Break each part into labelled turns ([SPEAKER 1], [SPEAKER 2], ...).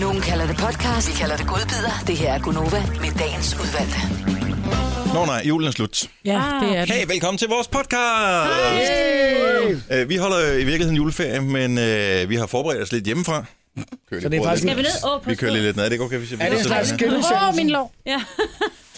[SPEAKER 1] Nogen kalder det podcast, vi kalder det godbider. Det her er Gunova med dagens udvalgte.
[SPEAKER 2] Nå nej, julen er slut.
[SPEAKER 3] Ja,
[SPEAKER 4] Ah,
[SPEAKER 3] det er det.
[SPEAKER 2] Hey, velkommen til vores podcast! Hey. Vi holder øh, i virkeligheden juleferie, men øh, vi har forberedt os lidt hjemmefra. Kører
[SPEAKER 5] Så det er faktisk-
[SPEAKER 2] bordet
[SPEAKER 4] Skal vi ned? Åh,
[SPEAKER 2] lidt. Vi kører lige lidt ned. Er det ikke okay, hvis jeg
[SPEAKER 5] Er det en
[SPEAKER 2] sidder
[SPEAKER 5] slags
[SPEAKER 2] her?
[SPEAKER 5] genudsendelse?
[SPEAKER 3] Åh, min lov.
[SPEAKER 4] Ja.
[SPEAKER 5] Er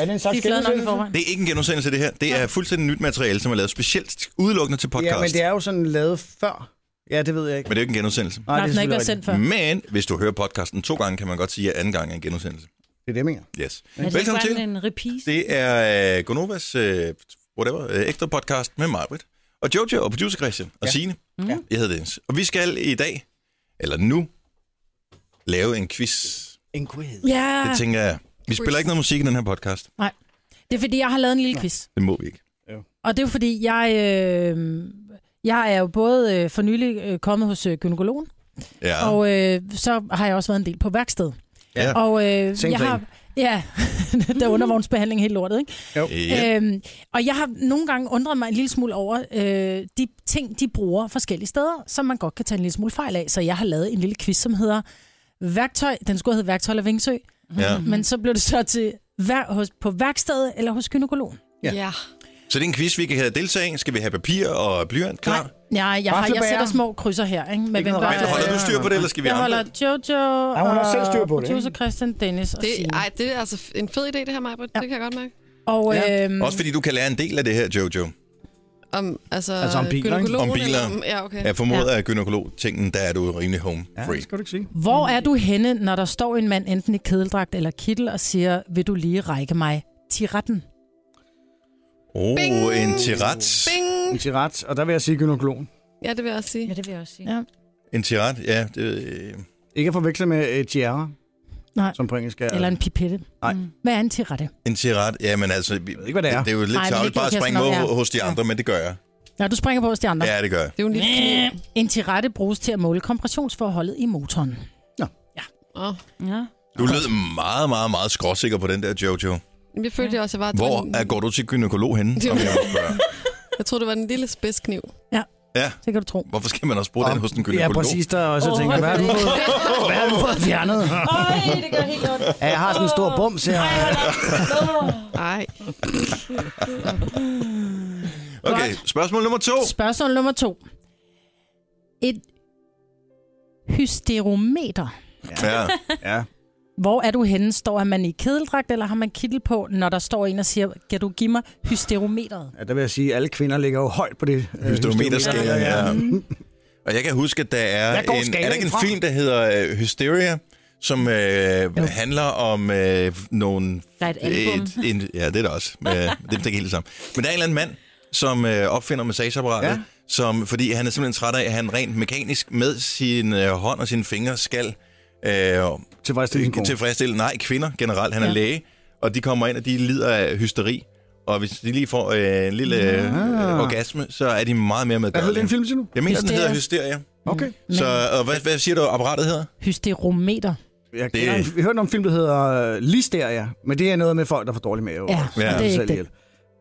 [SPEAKER 5] det en
[SPEAKER 3] De
[SPEAKER 5] slags
[SPEAKER 3] er flade nok i
[SPEAKER 5] genudsendelse?
[SPEAKER 3] forvejen.
[SPEAKER 2] Det er ikke en genudsendelse, det her. Det er fuldstændig nyt materiale, som er lavet specielt udelukkende til podcast.
[SPEAKER 5] Ja, men det er jo sådan lavet før. Ja, det ved jeg ikke.
[SPEAKER 2] men det er jo ikke en genudsendelse.
[SPEAKER 3] Nej, den har ikke
[SPEAKER 5] selvfølgelig
[SPEAKER 3] været sendt før.
[SPEAKER 2] Men hvis du hører podcasten to gange, kan man godt sige, at anden gang er en genudsendelse.
[SPEAKER 5] rigtigt. Det er det, jeg mener.
[SPEAKER 2] Yes.
[SPEAKER 4] Er det
[SPEAKER 2] Velkommen
[SPEAKER 4] ikke
[SPEAKER 2] til.
[SPEAKER 4] bare en reprise?
[SPEAKER 2] Det er øh, Gonovas øh, whatever, øh, ekstra podcast med Marvitt. Og Jojo og producer Christian og ja. Signe. Mm.
[SPEAKER 5] Ja.
[SPEAKER 2] Jeg hedder Dennis. Og vi skal i dag, eller nu, lave en quiz.
[SPEAKER 5] En quiz.
[SPEAKER 3] Ja,
[SPEAKER 2] Det tænker jeg. Vi spiller ikke noget musik i den her podcast.
[SPEAKER 3] det er fordi, jeg har lavet en lille quiz.
[SPEAKER 2] Det må vi ikke.
[SPEAKER 3] Og det er jo fordi, jeg, øh, jeg er jo både øh, for nylig øh, kommet hos øh, gynekologen,
[SPEAKER 2] Ja.
[SPEAKER 3] ja. og øh, så har jeg også været en del på værksted.
[SPEAKER 2] Ja.
[SPEAKER 3] Og øh,
[SPEAKER 5] Same
[SPEAKER 3] jeg
[SPEAKER 5] thing.
[SPEAKER 3] har... Ja, der er undervognsbehandling helt lortet, ikke?
[SPEAKER 2] ja.
[SPEAKER 3] Øhm, og jeg har nogle gange undret mig en lille smule over øh, de ting, de bruger forskellige steder, som man godt kan tage en lille smule fejl af. Så jeg har lavet en lille quiz, som hedder værktøj. Den skulle hedde værktøj eller Vingsø, Mm.
[SPEAKER 2] ja.
[SPEAKER 3] men så blev det så til vær- hos, på værkstedet eller hos gynekologen.
[SPEAKER 5] Ja.
[SPEAKER 4] ja.
[SPEAKER 2] Så det er en quiz, vi kan have deltage i. Skal vi have papir og blyant klar?
[SPEAKER 3] Nej, nej jeg, har, jeg
[SPEAKER 5] Vaffelbager.
[SPEAKER 3] sætter små krydser her. Ikke? Med
[SPEAKER 5] Ikke noget
[SPEAKER 2] Men holder du styr på det, eller skal vi
[SPEAKER 3] jeg holder
[SPEAKER 2] andre?
[SPEAKER 3] Jojo
[SPEAKER 5] Ja, hun har selv styr på det, ikke?
[SPEAKER 3] producer Christian, Dennis og
[SPEAKER 6] Det,
[SPEAKER 3] Signe.
[SPEAKER 6] ej, det er altså f- en fed idé, det her, Majbrit. Ja. Det kan jeg godt mærke.
[SPEAKER 3] Og,
[SPEAKER 5] Ja.
[SPEAKER 3] øhm,
[SPEAKER 2] Mm. Også fordi du kan lære en del af det her, Jojo.
[SPEAKER 6] Om, altså,
[SPEAKER 5] Altså om biler, ikke?
[SPEAKER 6] gynækologen
[SPEAKER 2] Om biler.
[SPEAKER 6] eller Om, ja, okay.
[SPEAKER 2] Jeg formoder, at gynekolog-tingen, der er du rimelig home free.
[SPEAKER 5] skal du ikke sige.
[SPEAKER 3] Hvor er du henne, når der står en mand enten i kedeldragt eller kittel og siger, vil du lige række mig til retten?
[SPEAKER 2] Åh, oh, en tirat.
[SPEAKER 6] Bing!
[SPEAKER 5] En tirat, og der vil jeg sige gynekologen.
[SPEAKER 6] Ja, det vil jeg også sige.
[SPEAKER 4] Ja, det vil jeg også sige.
[SPEAKER 3] Ja.
[SPEAKER 2] En tirat, ja. Det, øh,
[SPEAKER 5] Ikke at forveksle med uh, tiara,
[SPEAKER 3] Nej.
[SPEAKER 5] som på engelsk er.
[SPEAKER 3] Eller en pipette. Mm.
[SPEAKER 5] Nej.
[SPEAKER 3] Hvad er en tirette?
[SPEAKER 2] en tirat, ja, men altså... Jeg
[SPEAKER 5] ved ikke, hvad det er.
[SPEAKER 2] Det, det er jo lidt
[SPEAKER 3] Nej, men
[SPEAKER 2] tavligt
[SPEAKER 3] det kan
[SPEAKER 2] bare at
[SPEAKER 3] jeg
[SPEAKER 2] springe
[SPEAKER 3] sådan
[SPEAKER 2] over
[SPEAKER 3] nok, ja.
[SPEAKER 2] hos de andre, men det gør jeg.
[SPEAKER 3] Nå, du springer på hos de andre.
[SPEAKER 2] Ja, det gør jeg.
[SPEAKER 6] Det er jo en lille kniv.
[SPEAKER 3] Øh, En tirette bruges til at måle kompressionsforholdet i motoren.
[SPEAKER 6] Åh.
[SPEAKER 4] Ja.
[SPEAKER 2] Du lød meget, meget, meget skråsikker på den der, Jojo.
[SPEAKER 6] Jamen, Jeg følte også, jeg var...
[SPEAKER 2] Hvor er, går du til gynekolog henne?
[SPEAKER 6] Det
[SPEAKER 2] om
[SPEAKER 6] var-
[SPEAKER 2] jeg må spørge?
[SPEAKER 6] Jeg troede, det var den lille spidskniv.
[SPEAKER 2] Ja,
[SPEAKER 3] Det kan du tro.
[SPEAKER 2] hvorfor skal man også bruge den hos en
[SPEAKER 5] Ja,
[SPEAKER 2] gynekolog?
[SPEAKER 5] præcis. Der også jeg tænker, hvad har du fået, hvad har du fået fjernet?
[SPEAKER 4] Ej, det gør helt godt.
[SPEAKER 5] Ja, jeg har sådan en stor bums her.
[SPEAKER 6] Nej.
[SPEAKER 2] Okay, spørgsmål nummer to.
[SPEAKER 3] Spørgsmål nummer to. Et hysterometer.
[SPEAKER 2] Ja.
[SPEAKER 5] Ja.
[SPEAKER 3] Hvor er du henne? Står man i kedeldragt, eller har man kittel på, når der står en og siger, kan du give mig hysterometeret?
[SPEAKER 5] ja, der vil jeg sige, at alle kvinder ligger jo højt på det. øh,
[SPEAKER 2] Hysterometerskalaen,
[SPEAKER 5] hysterometer.
[SPEAKER 2] ja.
[SPEAKER 3] Mm.
[SPEAKER 2] Og jeg kan huske, at der er,
[SPEAKER 5] Hvad går
[SPEAKER 2] en, er der
[SPEAKER 5] skalaen
[SPEAKER 2] ikke en
[SPEAKER 5] fra?
[SPEAKER 2] film, der hedder øh, Hysteria, som øh, handler om øh, nogle...
[SPEAKER 4] Der er et album.
[SPEAKER 2] en, ja, det er der også. Men, øh, det er ikke helt det samme. Men der er en eller anden mand, som øh, opfinder massageapparatet, ja.
[SPEAKER 5] Ja.
[SPEAKER 2] som, fordi han er simpelthen træt af, at han rent mekanisk med sin øh, hånd og sine fingre skal øh,
[SPEAKER 5] Tilfredsstillende kone.
[SPEAKER 2] tilfredsstille, nej, kvinder generelt, han er
[SPEAKER 3] Ja.
[SPEAKER 2] læge, og de kommer ind, og de lider af hysteri. Og hvis de lige får øh, en lille øh, orgasme, så er de meget mere
[SPEAKER 5] Hvad hedder
[SPEAKER 2] medgørlige.
[SPEAKER 5] den film, siger du?
[SPEAKER 2] Jeg mener, den
[SPEAKER 3] Hysteria.
[SPEAKER 2] hedder Hysteria.
[SPEAKER 5] Okay.
[SPEAKER 2] Så og hvad, hvad siger du, apparatet hedder?
[SPEAKER 3] Hysterometer.
[SPEAKER 5] Jeg
[SPEAKER 2] Det-
[SPEAKER 5] kender, en- vi hørte om en film, der hedder øh, Listeria, men det er noget med folk, der får dårlig mave.
[SPEAKER 3] Ja,
[SPEAKER 5] og
[SPEAKER 3] det er
[SPEAKER 5] sig
[SPEAKER 3] ikke
[SPEAKER 5] selv
[SPEAKER 3] den.
[SPEAKER 5] ihjel.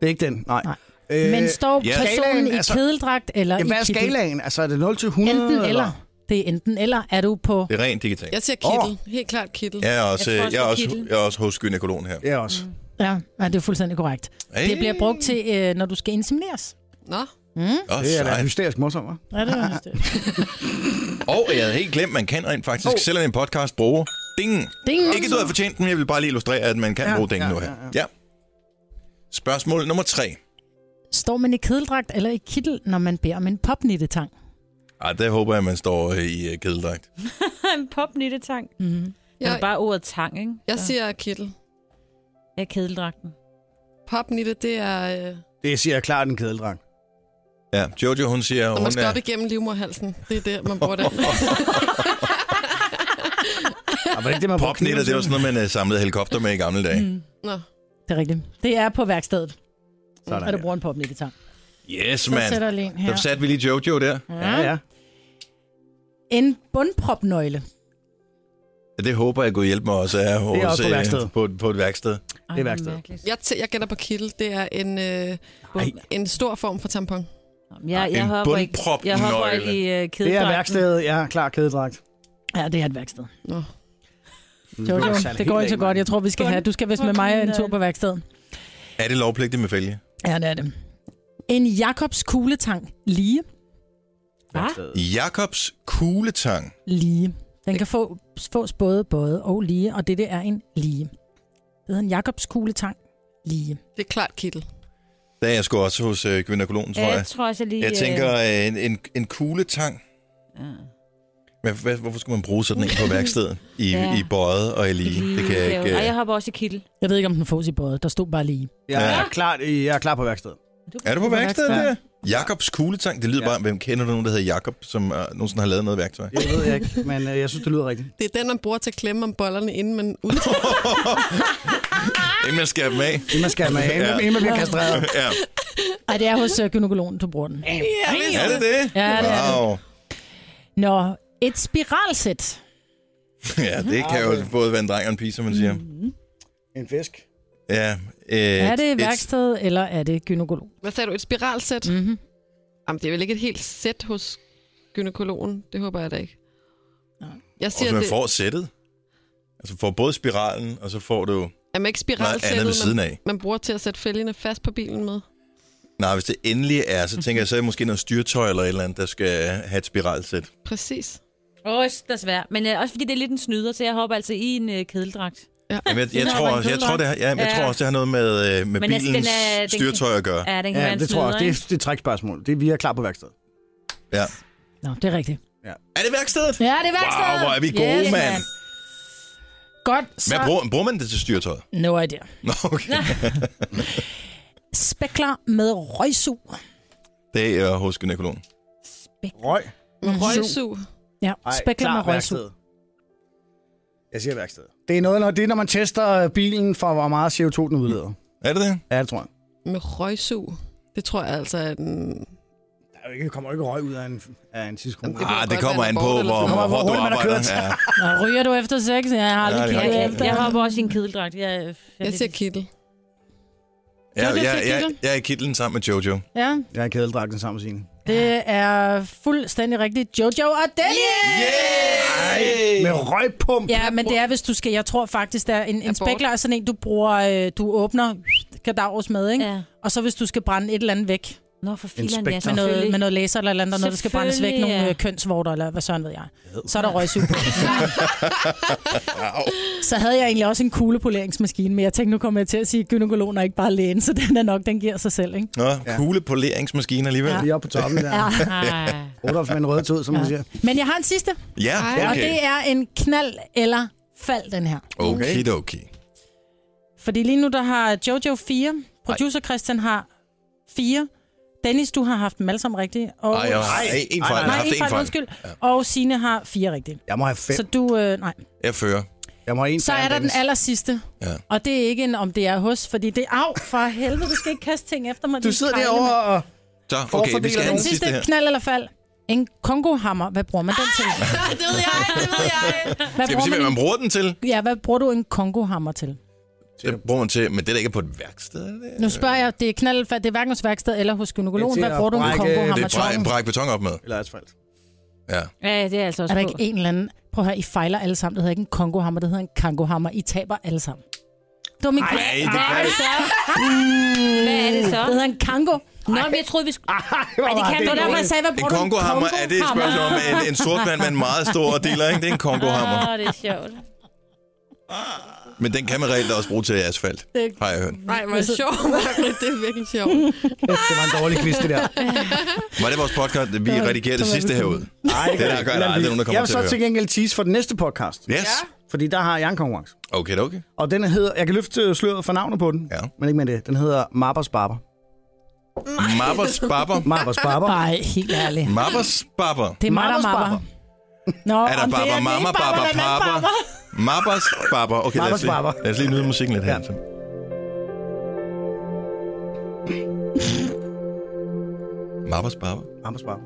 [SPEAKER 5] Det er ikke den, nej.
[SPEAKER 3] Nej.
[SPEAKER 5] Øh,
[SPEAKER 3] Men står
[SPEAKER 2] ja.
[SPEAKER 3] personen
[SPEAKER 5] Skalaen,
[SPEAKER 3] i
[SPEAKER 5] altså-
[SPEAKER 3] kedeldragt eller
[SPEAKER 5] jamen,
[SPEAKER 3] i
[SPEAKER 5] hvad er
[SPEAKER 3] kittel?
[SPEAKER 5] skalaen? Altså, er det 0 til 100?
[SPEAKER 3] Enten eller. Det er enten eller. Er du på...
[SPEAKER 2] Det er rent digitalt.
[SPEAKER 6] Jeg siger kittel. Helt klart kittel.
[SPEAKER 2] Jeg er også,
[SPEAKER 4] Jeg tror
[SPEAKER 2] jeg jeg
[SPEAKER 4] også,
[SPEAKER 2] er
[SPEAKER 4] det er
[SPEAKER 2] også,
[SPEAKER 4] kittel.
[SPEAKER 2] jeg er også hos gynekologen her.
[SPEAKER 5] Ja, også.
[SPEAKER 3] Ja, ja det er fuldstændig korrekt.
[SPEAKER 2] Hey.
[SPEAKER 3] Det bliver brugt til, øh, når du skal insemineres.
[SPEAKER 6] Nå.
[SPEAKER 2] Åh,
[SPEAKER 5] Det er da
[SPEAKER 2] sejt.
[SPEAKER 5] hysterisk morsomt, hva'?
[SPEAKER 3] Ja, det er det.
[SPEAKER 2] Og jeg havde helt glemt, man kan rent faktisk oh. selv en podcast bruge dingen.
[SPEAKER 3] Ding.
[SPEAKER 2] Ikke du har fortjent den, jeg vil bare lige illustrere, at man kan
[SPEAKER 5] Ja,
[SPEAKER 2] bruge dingen
[SPEAKER 5] ja,
[SPEAKER 2] nu her.
[SPEAKER 5] ja,
[SPEAKER 2] Ja. Spørgsmål nummer tre.
[SPEAKER 3] Står man i kedeldragt eller i kittel, når man beder om en popnittetang?
[SPEAKER 2] Ej, der håber jeg, at man står øh, i øh, kedeldragt.
[SPEAKER 4] en popnittetang.
[SPEAKER 3] Mm.
[SPEAKER 4] Det er
[SPEAKER 6] Jeg,
[SPEAKER 4] bare ordet tang, ikke?
[SPEAKER 6] jeg siger kittel.
[SPEAKER 4] Jeg er kedeldragten.
[SPEAKER 6] Popnitte, det er, øh,
[SPEAKER 5] Det siger jeg klart en kedeldrang.
[SPEAKER 2] Ja, Jojo, hun siger,
[SPEAKER 6] når
[SPEAKER 2] hun
[SPEAKER 6] man skal op
[SPEAKER 2] er...
[SPEAKER 6] igennem livmorhalsen. Det er der, man bruger den.
[SPEAKER 5] Og Ah, var det ikke det, man brugte
[SPEAKER 2] Popnitter, det var
[SPEAKER 5] kniven til?
[SPEAKER 2] sådan noget, man øh, samlede helikopter med i gamle dage. Mm.
[SPEAKER 6] Nå.
[SPEAKER 3] Det er rigtigt. Det er på værkstedet,
[SPEAKER 5] Sådan,
[SPEAKER 3] når du
[SPEAKER 5] ja.
[SPEAKER 3] bruger en popnittetang.
[SPEAKER 2] Yes,
[SPEAKER 3] Så sætter
[SPEAKER 2] man.
[SPEAKER 3] jeg lige en
[SPEAKER 2] Så
[SPEAKER 3] her.
[SPEAKER 2] satte vi lige Jojo der.
[SPEAKER 5] Ja, ja.
[SPEAKER 3] En bundpropnøgle.
[SPEAKER 2] Ja, Det håber jeg, Gud hjælpe mig også er hos,
[SPEAKER 5] også på
[SPEAKER 2] øh,
[SPEAKER 5] værksted.
[SPEAKER 2] på, et- på et værksted.
[SPEAKER 4] Ej,
[SPEAKER 5] Det er værksted.
[SPEAKER 4] mærkeligt.
[SPEAKER 6] Jeg, tæ- jeg gætter på kittel. Det er en, øh, en stor form for tampon.
[SPEAKER 4] Jeg, jeg
[SPEAKER 2] En
[SPEAKER 4] hopper ikke, jeg hopper
[SPEAKER 2] bundpropnøgle.
[SPEAKER 4] ikke i uh,
[SPEAKER 5] Det er
[SPEAKER 4] kedeldragten.
[SPEAKER 5] værkstedet, ja, klar kedeldragt.
[SPEAKER 6] Mm.
[SPEAKER 3] Ja, det er et værksted.
[SPEAKER 6] Nå.
[SPEAKER 3] Jo, jo,
[SPEAKER 5] særlig
[SPEAKER 3] det går
[SPEAKER 5] helt
[SPEAKER 3] ikke så
[SPEAKER 5] af, mand.
[SPEAKER 3] godt. Jeg tror, vi skal have. Du skal vist med mig en tur på værkstedet.
[SPEAKER 2] Er det lovpligtigt med fælge?
[SPEAKER 3] Ja, det er det. En Jakobs kugletang lige.
[SPEAKER 2] Jakobs kugletang.
[SPEAKER 3] Lige. Den kan få, fås både både og lige, og dette er en lige. Det hedder en Jakobs kugletang lige.
[SPEAKER 6] Det er klart kittel.
[SPEAKER 2] Der er jeg sgu også hos øh, gynækologen, tror
[SPEAKER 4] Ja,
[SPEAKER 2] jeg.
[SPEAKER 4] jeg tror også, jeg lige...
[SPEAKER 2] Jeg tænker, øh, en, en, en kugletang.
[SPEAKER 4] Ja.
[SPEAKER 2] Men hvad, hvorfor skulle man bruge sådan en på værkstedet? I,
[SPEAKER 4] Ja.
[SPEAKER 2] ja. i bøjet og i lige. Det kan jeg ikke...
[SPEAKER 4] Ej, jeg
[SPEAKER 2] Øh.
[SPEAKER 4] hopper også i kittel.
[SPEAKER 3] Jeg ved ikke, om den fås i både. Der stod bare lige.
[SPEAKER 5] Jeg er,
[SPEAKER 2] Ja.
[SPEAKER 5] klar, jeg er klar på værkstedet.
[SPEAKER 2] Er du på værkstedet der?
[SPEAKER 3] værksted?
[SPEAKER 2] Jakobs kugletang. Det lyder
[SPEAKER 5] Ja.
[SPEAKER 2] ja. bare... Hvem kender du nogen, der hedder Jakob, som uh, nogensinde har lavet noget værktøj?
[SPEAKER 5] Det ved jeg ikke, men øh, jeg synes, det lyder rigtigt.
[SPEAKER 6] Det er den, man bruger til at klemme om bollerne, inden man ud.
[SPEAKER 2] Inden man skærer dem af.
[SPEAKER 5] Inden man skal med, inden,
[SPEAKER 2] Ja.
[SPEAKER 5] inden man bliver kastreret.
[SPEAKER 2] ja.
[SPEAKER 3] Ej, det er hos øh, gynækologen, du bruger den.
[SPEAKER 2] Er det det?
[SPEAKER 3] Ja, det er
[SPEAKER 2] wow.
[SPEAKER 3] Nå, et spiralsæt.
[SPEAKER 2] Ja, det kan jo både være en dreng og en pige, som man siger.
[SPEAKER 5] En fisk.
[SPEAKER 2] Ja, et,
[SPEAKER 3] Er det
[SPEAKER 2] et-
[SPEAKER 3] værksted, eller er det gynækolog?
[SPEAKER 6] Hvad sagde du? Et spiralsæt?
[SPEAKER 3] Mm-hmm.
[SPEAKER 6] Jamen, det er vel ikke et helt sæt hos gynekologen. Det håber jeg da ikke. Jeg
[SPEAKER 2] Og
[SPEAKER 6] siger,
[SPEAKER 2] så man
[SPEAKER 6] det,
[SPEAKER 2] får sættet. Altså får både spiralen, og så får du...
[SPEAKER 6] jamen ikke
[SPEAKER 2] andet ved
[SPEAKER 6] spiralsættet,
[SPEAKER 2] siden
[SPEAKER 6] man,
[SPEAKER 2] af.
[SPEAKER 6] man bruger til at sætte fælgene fast på bilen med.
[SPEAKER 2] Nej, hvis det endelig er, så tænker jeg, så er det måske noget styretøj eller et eller andet, der skal have et spiralsæt.
[SPEAKER 6] Præcis.
[SPEAKER 4] Åh, det er svært. Men øh, også fordi det er lidt en snyder, så jeg hopper altså i en øh, kedeldragt.
[SPEAKER 2] Jamen, jeg,
[SPEAKER 4] Den
[SPEAKER 2] jeg,
[SPEAKER 4] har
[SPEAKER 2] tror
[SPEAKER 4] bare en
[SPEAKER 2] også, jeg, tror, det har, ja, jeg
[SPEAKER 4] Ja.
[SPEAKER 2] tror også, det har noget med, øh, med
[SPEAKER 4] Men altså, den
[SPEAKER 2] bilens
[SPEAKER 4] er- den kan-
[SPEAKER 2] styretøj at gøre.
[SPEAKER 4] Ja, den kan være
[SPEAKER 5] Ja,
[SPEAKER 4] en
[SPEAKER 5] det tror
[SPEAKER 4] snyder,
[SPEAKER 5] jeg. også. Det
[SPEAKER 4] ikke?
[SPEAKER 5] er, det er et trækspørgsmål. Det er, vi er klar på værkstedet.
[SPEAKER 2] Ja.
[SPEAKER 3] Nå, det er rigtigt.
[SPEAKER 2] Er det værkstedet?
[SPEAKER 3] Ja, det er værksted.
[SPEAKER 2] Wow, hvor er vi gode,
[SPEAKER 3] Yes,
[SPEAKER 2] mand.
[SPEAKER 3] Godt, så...
[SPEAKER 2] Hvad bruger, bruger man det til styretøjet?
[SPEAKER 3] No idea.
[SPEAKER 2] Nå, okay.
[SPEAKER 3] Spækler med røgsug.
[SPEAKER 2] Det er øh, hos gynækologen.
[SPEAKER 5] Røg.
[SPEAKER 6] Med røgsug.
[SPEAKER 3] Ja,
[SPEAKER 5] Ej,
[SPEAKER 3] spækler
[SPEAKER 5] klar,
[SPEAKER 3] med røgsug.
[SPEAKER 5] værkstedet. Jeg siger værkstedet. Det er, noget, når, det er, når man tester bilen for, hvor meget CO2 den udleder.
[SPEAKER 2] Er det det?
[SPEAKER 5] Mm. Ja, det tror jeg.
[SPEAKER 6] Med røgsug. Det tror jeg altså er den...
[SPEAKER 5] Der er jo ikke- kommer jo ikke røg ud af en, af en tidskron.
[SPEAKER 6] Jamen, Det kunne
[SPEAKER 2] Ah,
[SPEAKER 6] godt
[SPEAKER 2] det
[SPEAKER 6] være,
[SPEAKER 2] kommer
[SPEAKER 6] den
[SPEAKER 2] an
[SPEAKER 6] er
[SPEAKER 2] på,
[SPEAKER 6] bort,
[SPEAKER 2] hvor,
[SPEAKER 6] eller sådan
[SPEAKER 2] hvor
[SPEAKER 5] noget.
[SPEAKER 2] hårdt du
[SPEAKER 5] Hvor hurtigt man har
[SPEAKER 2] arbejder.
[SPEAKER 5] kørt.
[SPEAKER 2] Ja.
[SPEAKER 3] Nå, ryger du efter sex? Ja, jeg har
[SPEAKER 2] Ja,
[SPEAKER 3] aldrig
[SPEAKER 2] det er
[SPEAKER 3] kigget
[SPEAKER 4] Jeg,
[SPEAKER 3] efter.
[SPEAKER 4] jeg hopper også i en kedeldragt. Jeg, jeg,
[SPEAKER 6] Jeg siger kittel.
[SPEAKER 2] Ja,
[SPEAKER 6] Jojo
[SPEAKER 2] jeg,
[SPEAKER 6] fik
[SPEAKER 2] jeg,
[SPEAKER 6] titlen.
[SPEAKER 2] jeg er i kitlen sammen med Jojo.
[SPEAKER 3] Ja,
[SPEAKER 5] Jeg har kædeldragten sammen med sine.
[SPEAKER 3] det er fuldstændig rigtigt. Jojo og Delia!
[SPEAKER 5] Med røgpump.
[SPEAKER 3] Ja, men det er, hvis du skal... Jeg tror faktisk, der er en, en
[SPEAKER 6] Abort.
[SPEAKER 3] spækler er sådan en, du bruger... øh, Du åbner kadavers med, ikke?
[SPEAKER 4] Ja.
[SPEAKER 3] Og så hvis du skal brænde et eller andet væk
[SPEAKER 4] Nå, for filan, ja,
[SPEAKER 5] Inspektor.
[SPEAKER 3] med noget,
[SPEAKER 4] selvfølgelig.
[SPEAKER 3] med noget laser eller et eller andet, og noget, der skal brændes væk,
[SPEAKER 4] Selvfølgelig,
[SPEAKER 3] nogle
[SPEAKER 4] ja.
[SPEAKER 3] øh, kønsvorter eller hvad søren ved jeg, så er der røgsug på. så havde jeg egentlig også en kuglepoleringsmaskine, men jeg tænkte, nu kommer jeg til at sige gynækolog, og ikke bare lægen, så den er nok, den giver sig selv, ikke?
[SPEAKER 2] Nå, kuglepoleringsmaskine alligevel.
[SPEAKER 5] Lige oppe på toppen der. Ja.
[SPEAKER 4] Ej.
[SPEAKER 5] Rudolf med en rød tød, som man siger.
[SPEAKER 3] Men jeg har en sidste,
[SPEAKER 2] Ja,
[SPEAKER 3] og
[SPEAKER 2] okay.
[SPEAKER 3] det er en knald eller fald, den her.
[SPEAKER 2] Okay, okay.
[SPEAKER 3] Fordi lige nu, der har Jojo 4, producer Christian har 4, Dennis, du har haft dem alle sammen rigtige, og...
[SPEAKER 2] Ej, jeg har ej, en fejl. Jeg har
[SPEAKER 3] Nej,
[SPEAKER 2] haft
[SPEAKER 3] en
[SPEAKER 2] en
[SPEAKER 3] fejl,
[SPEAKER 2] fejl.
[SPEAKER 3] undskyld. Og Sine har fire rigtige.
[SPEAKER 5] Jeg må have fem.
[SPEAKER 3] Så du, øh, nej.
[SPEAKER 2] Jeg fører.
[SPEAKER 5] Jeg må have en
[SPEAKER 3] Så
[SPEAKER 5] færre
[SPEAKER 3] er der den
[SPEAKER 5] end Dennis.
[SPEAKER 3] aller sidste.
[SPEAKER 2] Ja.
[SPEAKER 3] Og det er ikke en, om det er hos, fordi det er af for helvede, du skal ikke kaste ting efter mig.
[SPEAKER 5] Du
[SPEAKER 3] din
[SPEAKER 5] sidder
[SPEAKER 3] krejle
[SPEAKER 5] derovre
[SPEAKER 3] mand.
[SPEAKER 5] og...
[SPEAKER 2] Så, okay, vi skal
[SPEAKER 5] Forfordeler
[SPEAKER 2] have
[SPEAKER 3] Den
[SPEAKER 2] den sidste
[SPEAKER 3] sidste
[SPEAKER 2] her.
[SPEAKER 3] knald eller fald. En kongohammer, hvad bruger man den til?
[SPEAKER 6] det ved jeg, det ved jeg.
[SPEAKER 3] Hvad
[SPEAKER 2] Skal vi
[SPEAKER 3] bruger
[SPEAKER 2] se, hvad man
[SPEAKER 3] man
[SPEAKER 2] bruger den til?
[SPEAKER 3] en, ja, hvad bruger du en kongohammer til?
[SPEAKER 2] Det bruger man til, men det er da ikke på et værksted. er det?
[SPEAKER 3] Nu spørger jeg, det er knald eller fald, det er hverken hos værksted eller hos
[SPEAKER 5] Det er
[SPEAKER 3] gynekologen.
[SPEAKER 5] til
[SPEAKER 3] Hvad
[SPEAKER 5] at
[SPEAKER 3] bruger du en
[SPEAKER 5] brække-
[SPEAKER 2] Det
[SPEAKER 3] kongohammer
[SPEAKER 2] er
[SPEAKER 3] til?
[SPEAKER 2] bræk, bræk beton op med.
[SPEAKER 5] Eller asfalt.
[SPEAKER 2] Ja.
[SPEAKER 4] Ja, det er altså også
[SPEAKER 3] Er der
[SPEAKER 4] på.
[SPEAKER 3] ikke en eller anden... Prøv at høre, I fejler alle sammen. Det hedder ikke en kongohammer, det hedder en kangohammer. I taber alle sammen. Det var min Ej,
[SPEAKER 2] Ej,
[SPEAKER 3] det,
[SPEAKER 2] det
[SPEAKER 4] Hvad er
[SPEAKER 2] kan
[SPEAKER 4] det så? Hvad er det så?
[SPEAKER 3] hedder en kango.
[SPEAKER 4] Nå, men jeg troede, vi skulle...
[SPEAKER 5] Ej,
[SPEAKER 4] det kan
[SPEAKER 3] Det var derfor, jeg sagde, hvad
[SPEAKER 2] En
[SPEAKER 3] bruger du
[SPEAKER 2] kongohammer, er det et spørgsmål om en, en sort mand med en meget stor dealer, ikke? Det er en kongohammer.
[SPEAKER 4] Åh, det er sjovt.
[SPEAKER 2] Men den kan man reelt også bruge til asfalt,
[SPEAKER 3] Det-
[SPEAKER 2] har jeg hørt.
[SPEAKER 6] Nej, hvor er det sjovt. Margrit. Det er virkelig sjovt.
[SPEAKER 5] Det var en dårlig quiz, det der.
[SPEAKER 2] Var det vores podcast? Vi redigerer det
[SPEAKER 3] var
[SPEAKER 2] sidste
[SPEAKER 3] vi
[SPEAKER 2] herud.
[SPEAKER 5] Nej,
[SPEAKER 2] Det er der gør der aldrig nogen, der kommer
[SPEAKER 5] Jeg vil
[SPEAKER 2] til
[SPEAKER 5] så
[SPEAKER 2] at
[SPEAKER 5] til gengæld tease for den næste podcast.
[SPEAKER 2] Yes.
[SPEAKER 5] Fordi der har jeg en konkurrence.
[SPEAKER 2] Okay, okay.
[SPEAKER 5] Og den hedder... Jeg kan løfte sløret for navnet på den.
[SPEAKER 2] Ja.
[SPEAKER 5] Men ikke med det. Den hedder Marbers Barber.
[SPEAKER 2] Mappers babber.
[SPEAKER 5] Marbers Barber.
[SPEAKER 3] Nej, helt ærligt.
[SPEAKER 2] Mappers babber.
[SPEAKER 3] Det er mig, der
[SPEAKER 5] Mamas
[SPEAKER 3] mapper.
[SPEAKER 5] barber.
[SPEAKER 3] Nå,
[SPEAKER 2] Er der
[SPEAKER 3] om det
[SPEAKER 2] babber,
[SPEAKER 3] den
[SPEAKER 2] mamma,
[SPEAKER 3] ene barber
[SPEAKER 2] babber,
[SPEAKER 3] eller den anden
[SPEAKER 2] papper?
[SPEAKER 3] barber?
[SPEAKER 2] Mappers babber. Okay, lad os,
[SPEAKER 5] Mappers
[SPEAKER 2] lige,
[SPEAKER 5] babber.
[SPEAKER 2] lad os lige nyde musikken lidt her.
[SPEAKER 5] Ja.
[SPEAKER 2] så. Mappers babber.
[SPEAKER 5] Marbers Barber.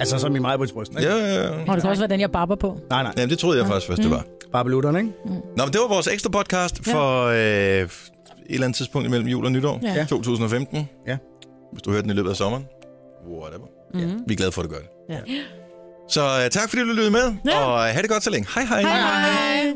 [SPEAKER 5] Altså som i mig på brysten, ikke?
[SPEAKER 2] Ja, ja, ja.
[SPEAKER 3] Nå, det kan også være den, jeg barber på.
[SPEAKER 5] Nej, nej.
[SPEAKER 2] Jamen, det troede jeg faktisk først, det var.
[SPEAKER 5] Barbelutterne, ikke?
[SPEAKER 2] Nå, men det var vores ekstra podcast for øh, et eller andet tidspunkt imellem jul og nytår.
[SPEAKER 3] Ja.
[SPEAKER 2] 2015.
[SPEAKER 5] Ja.
[SPEAKER 2] Hvis du hørte den i løbet af sommeren. Whatever. Vi er glade for, at du gør det. Så øh, tak fordi du lyttede med,
[SPEAKER 3] Ja.
[SPEAKER 2] og øh, have det godt så længe. Hej hej.
[SPEAKER 3] Hej.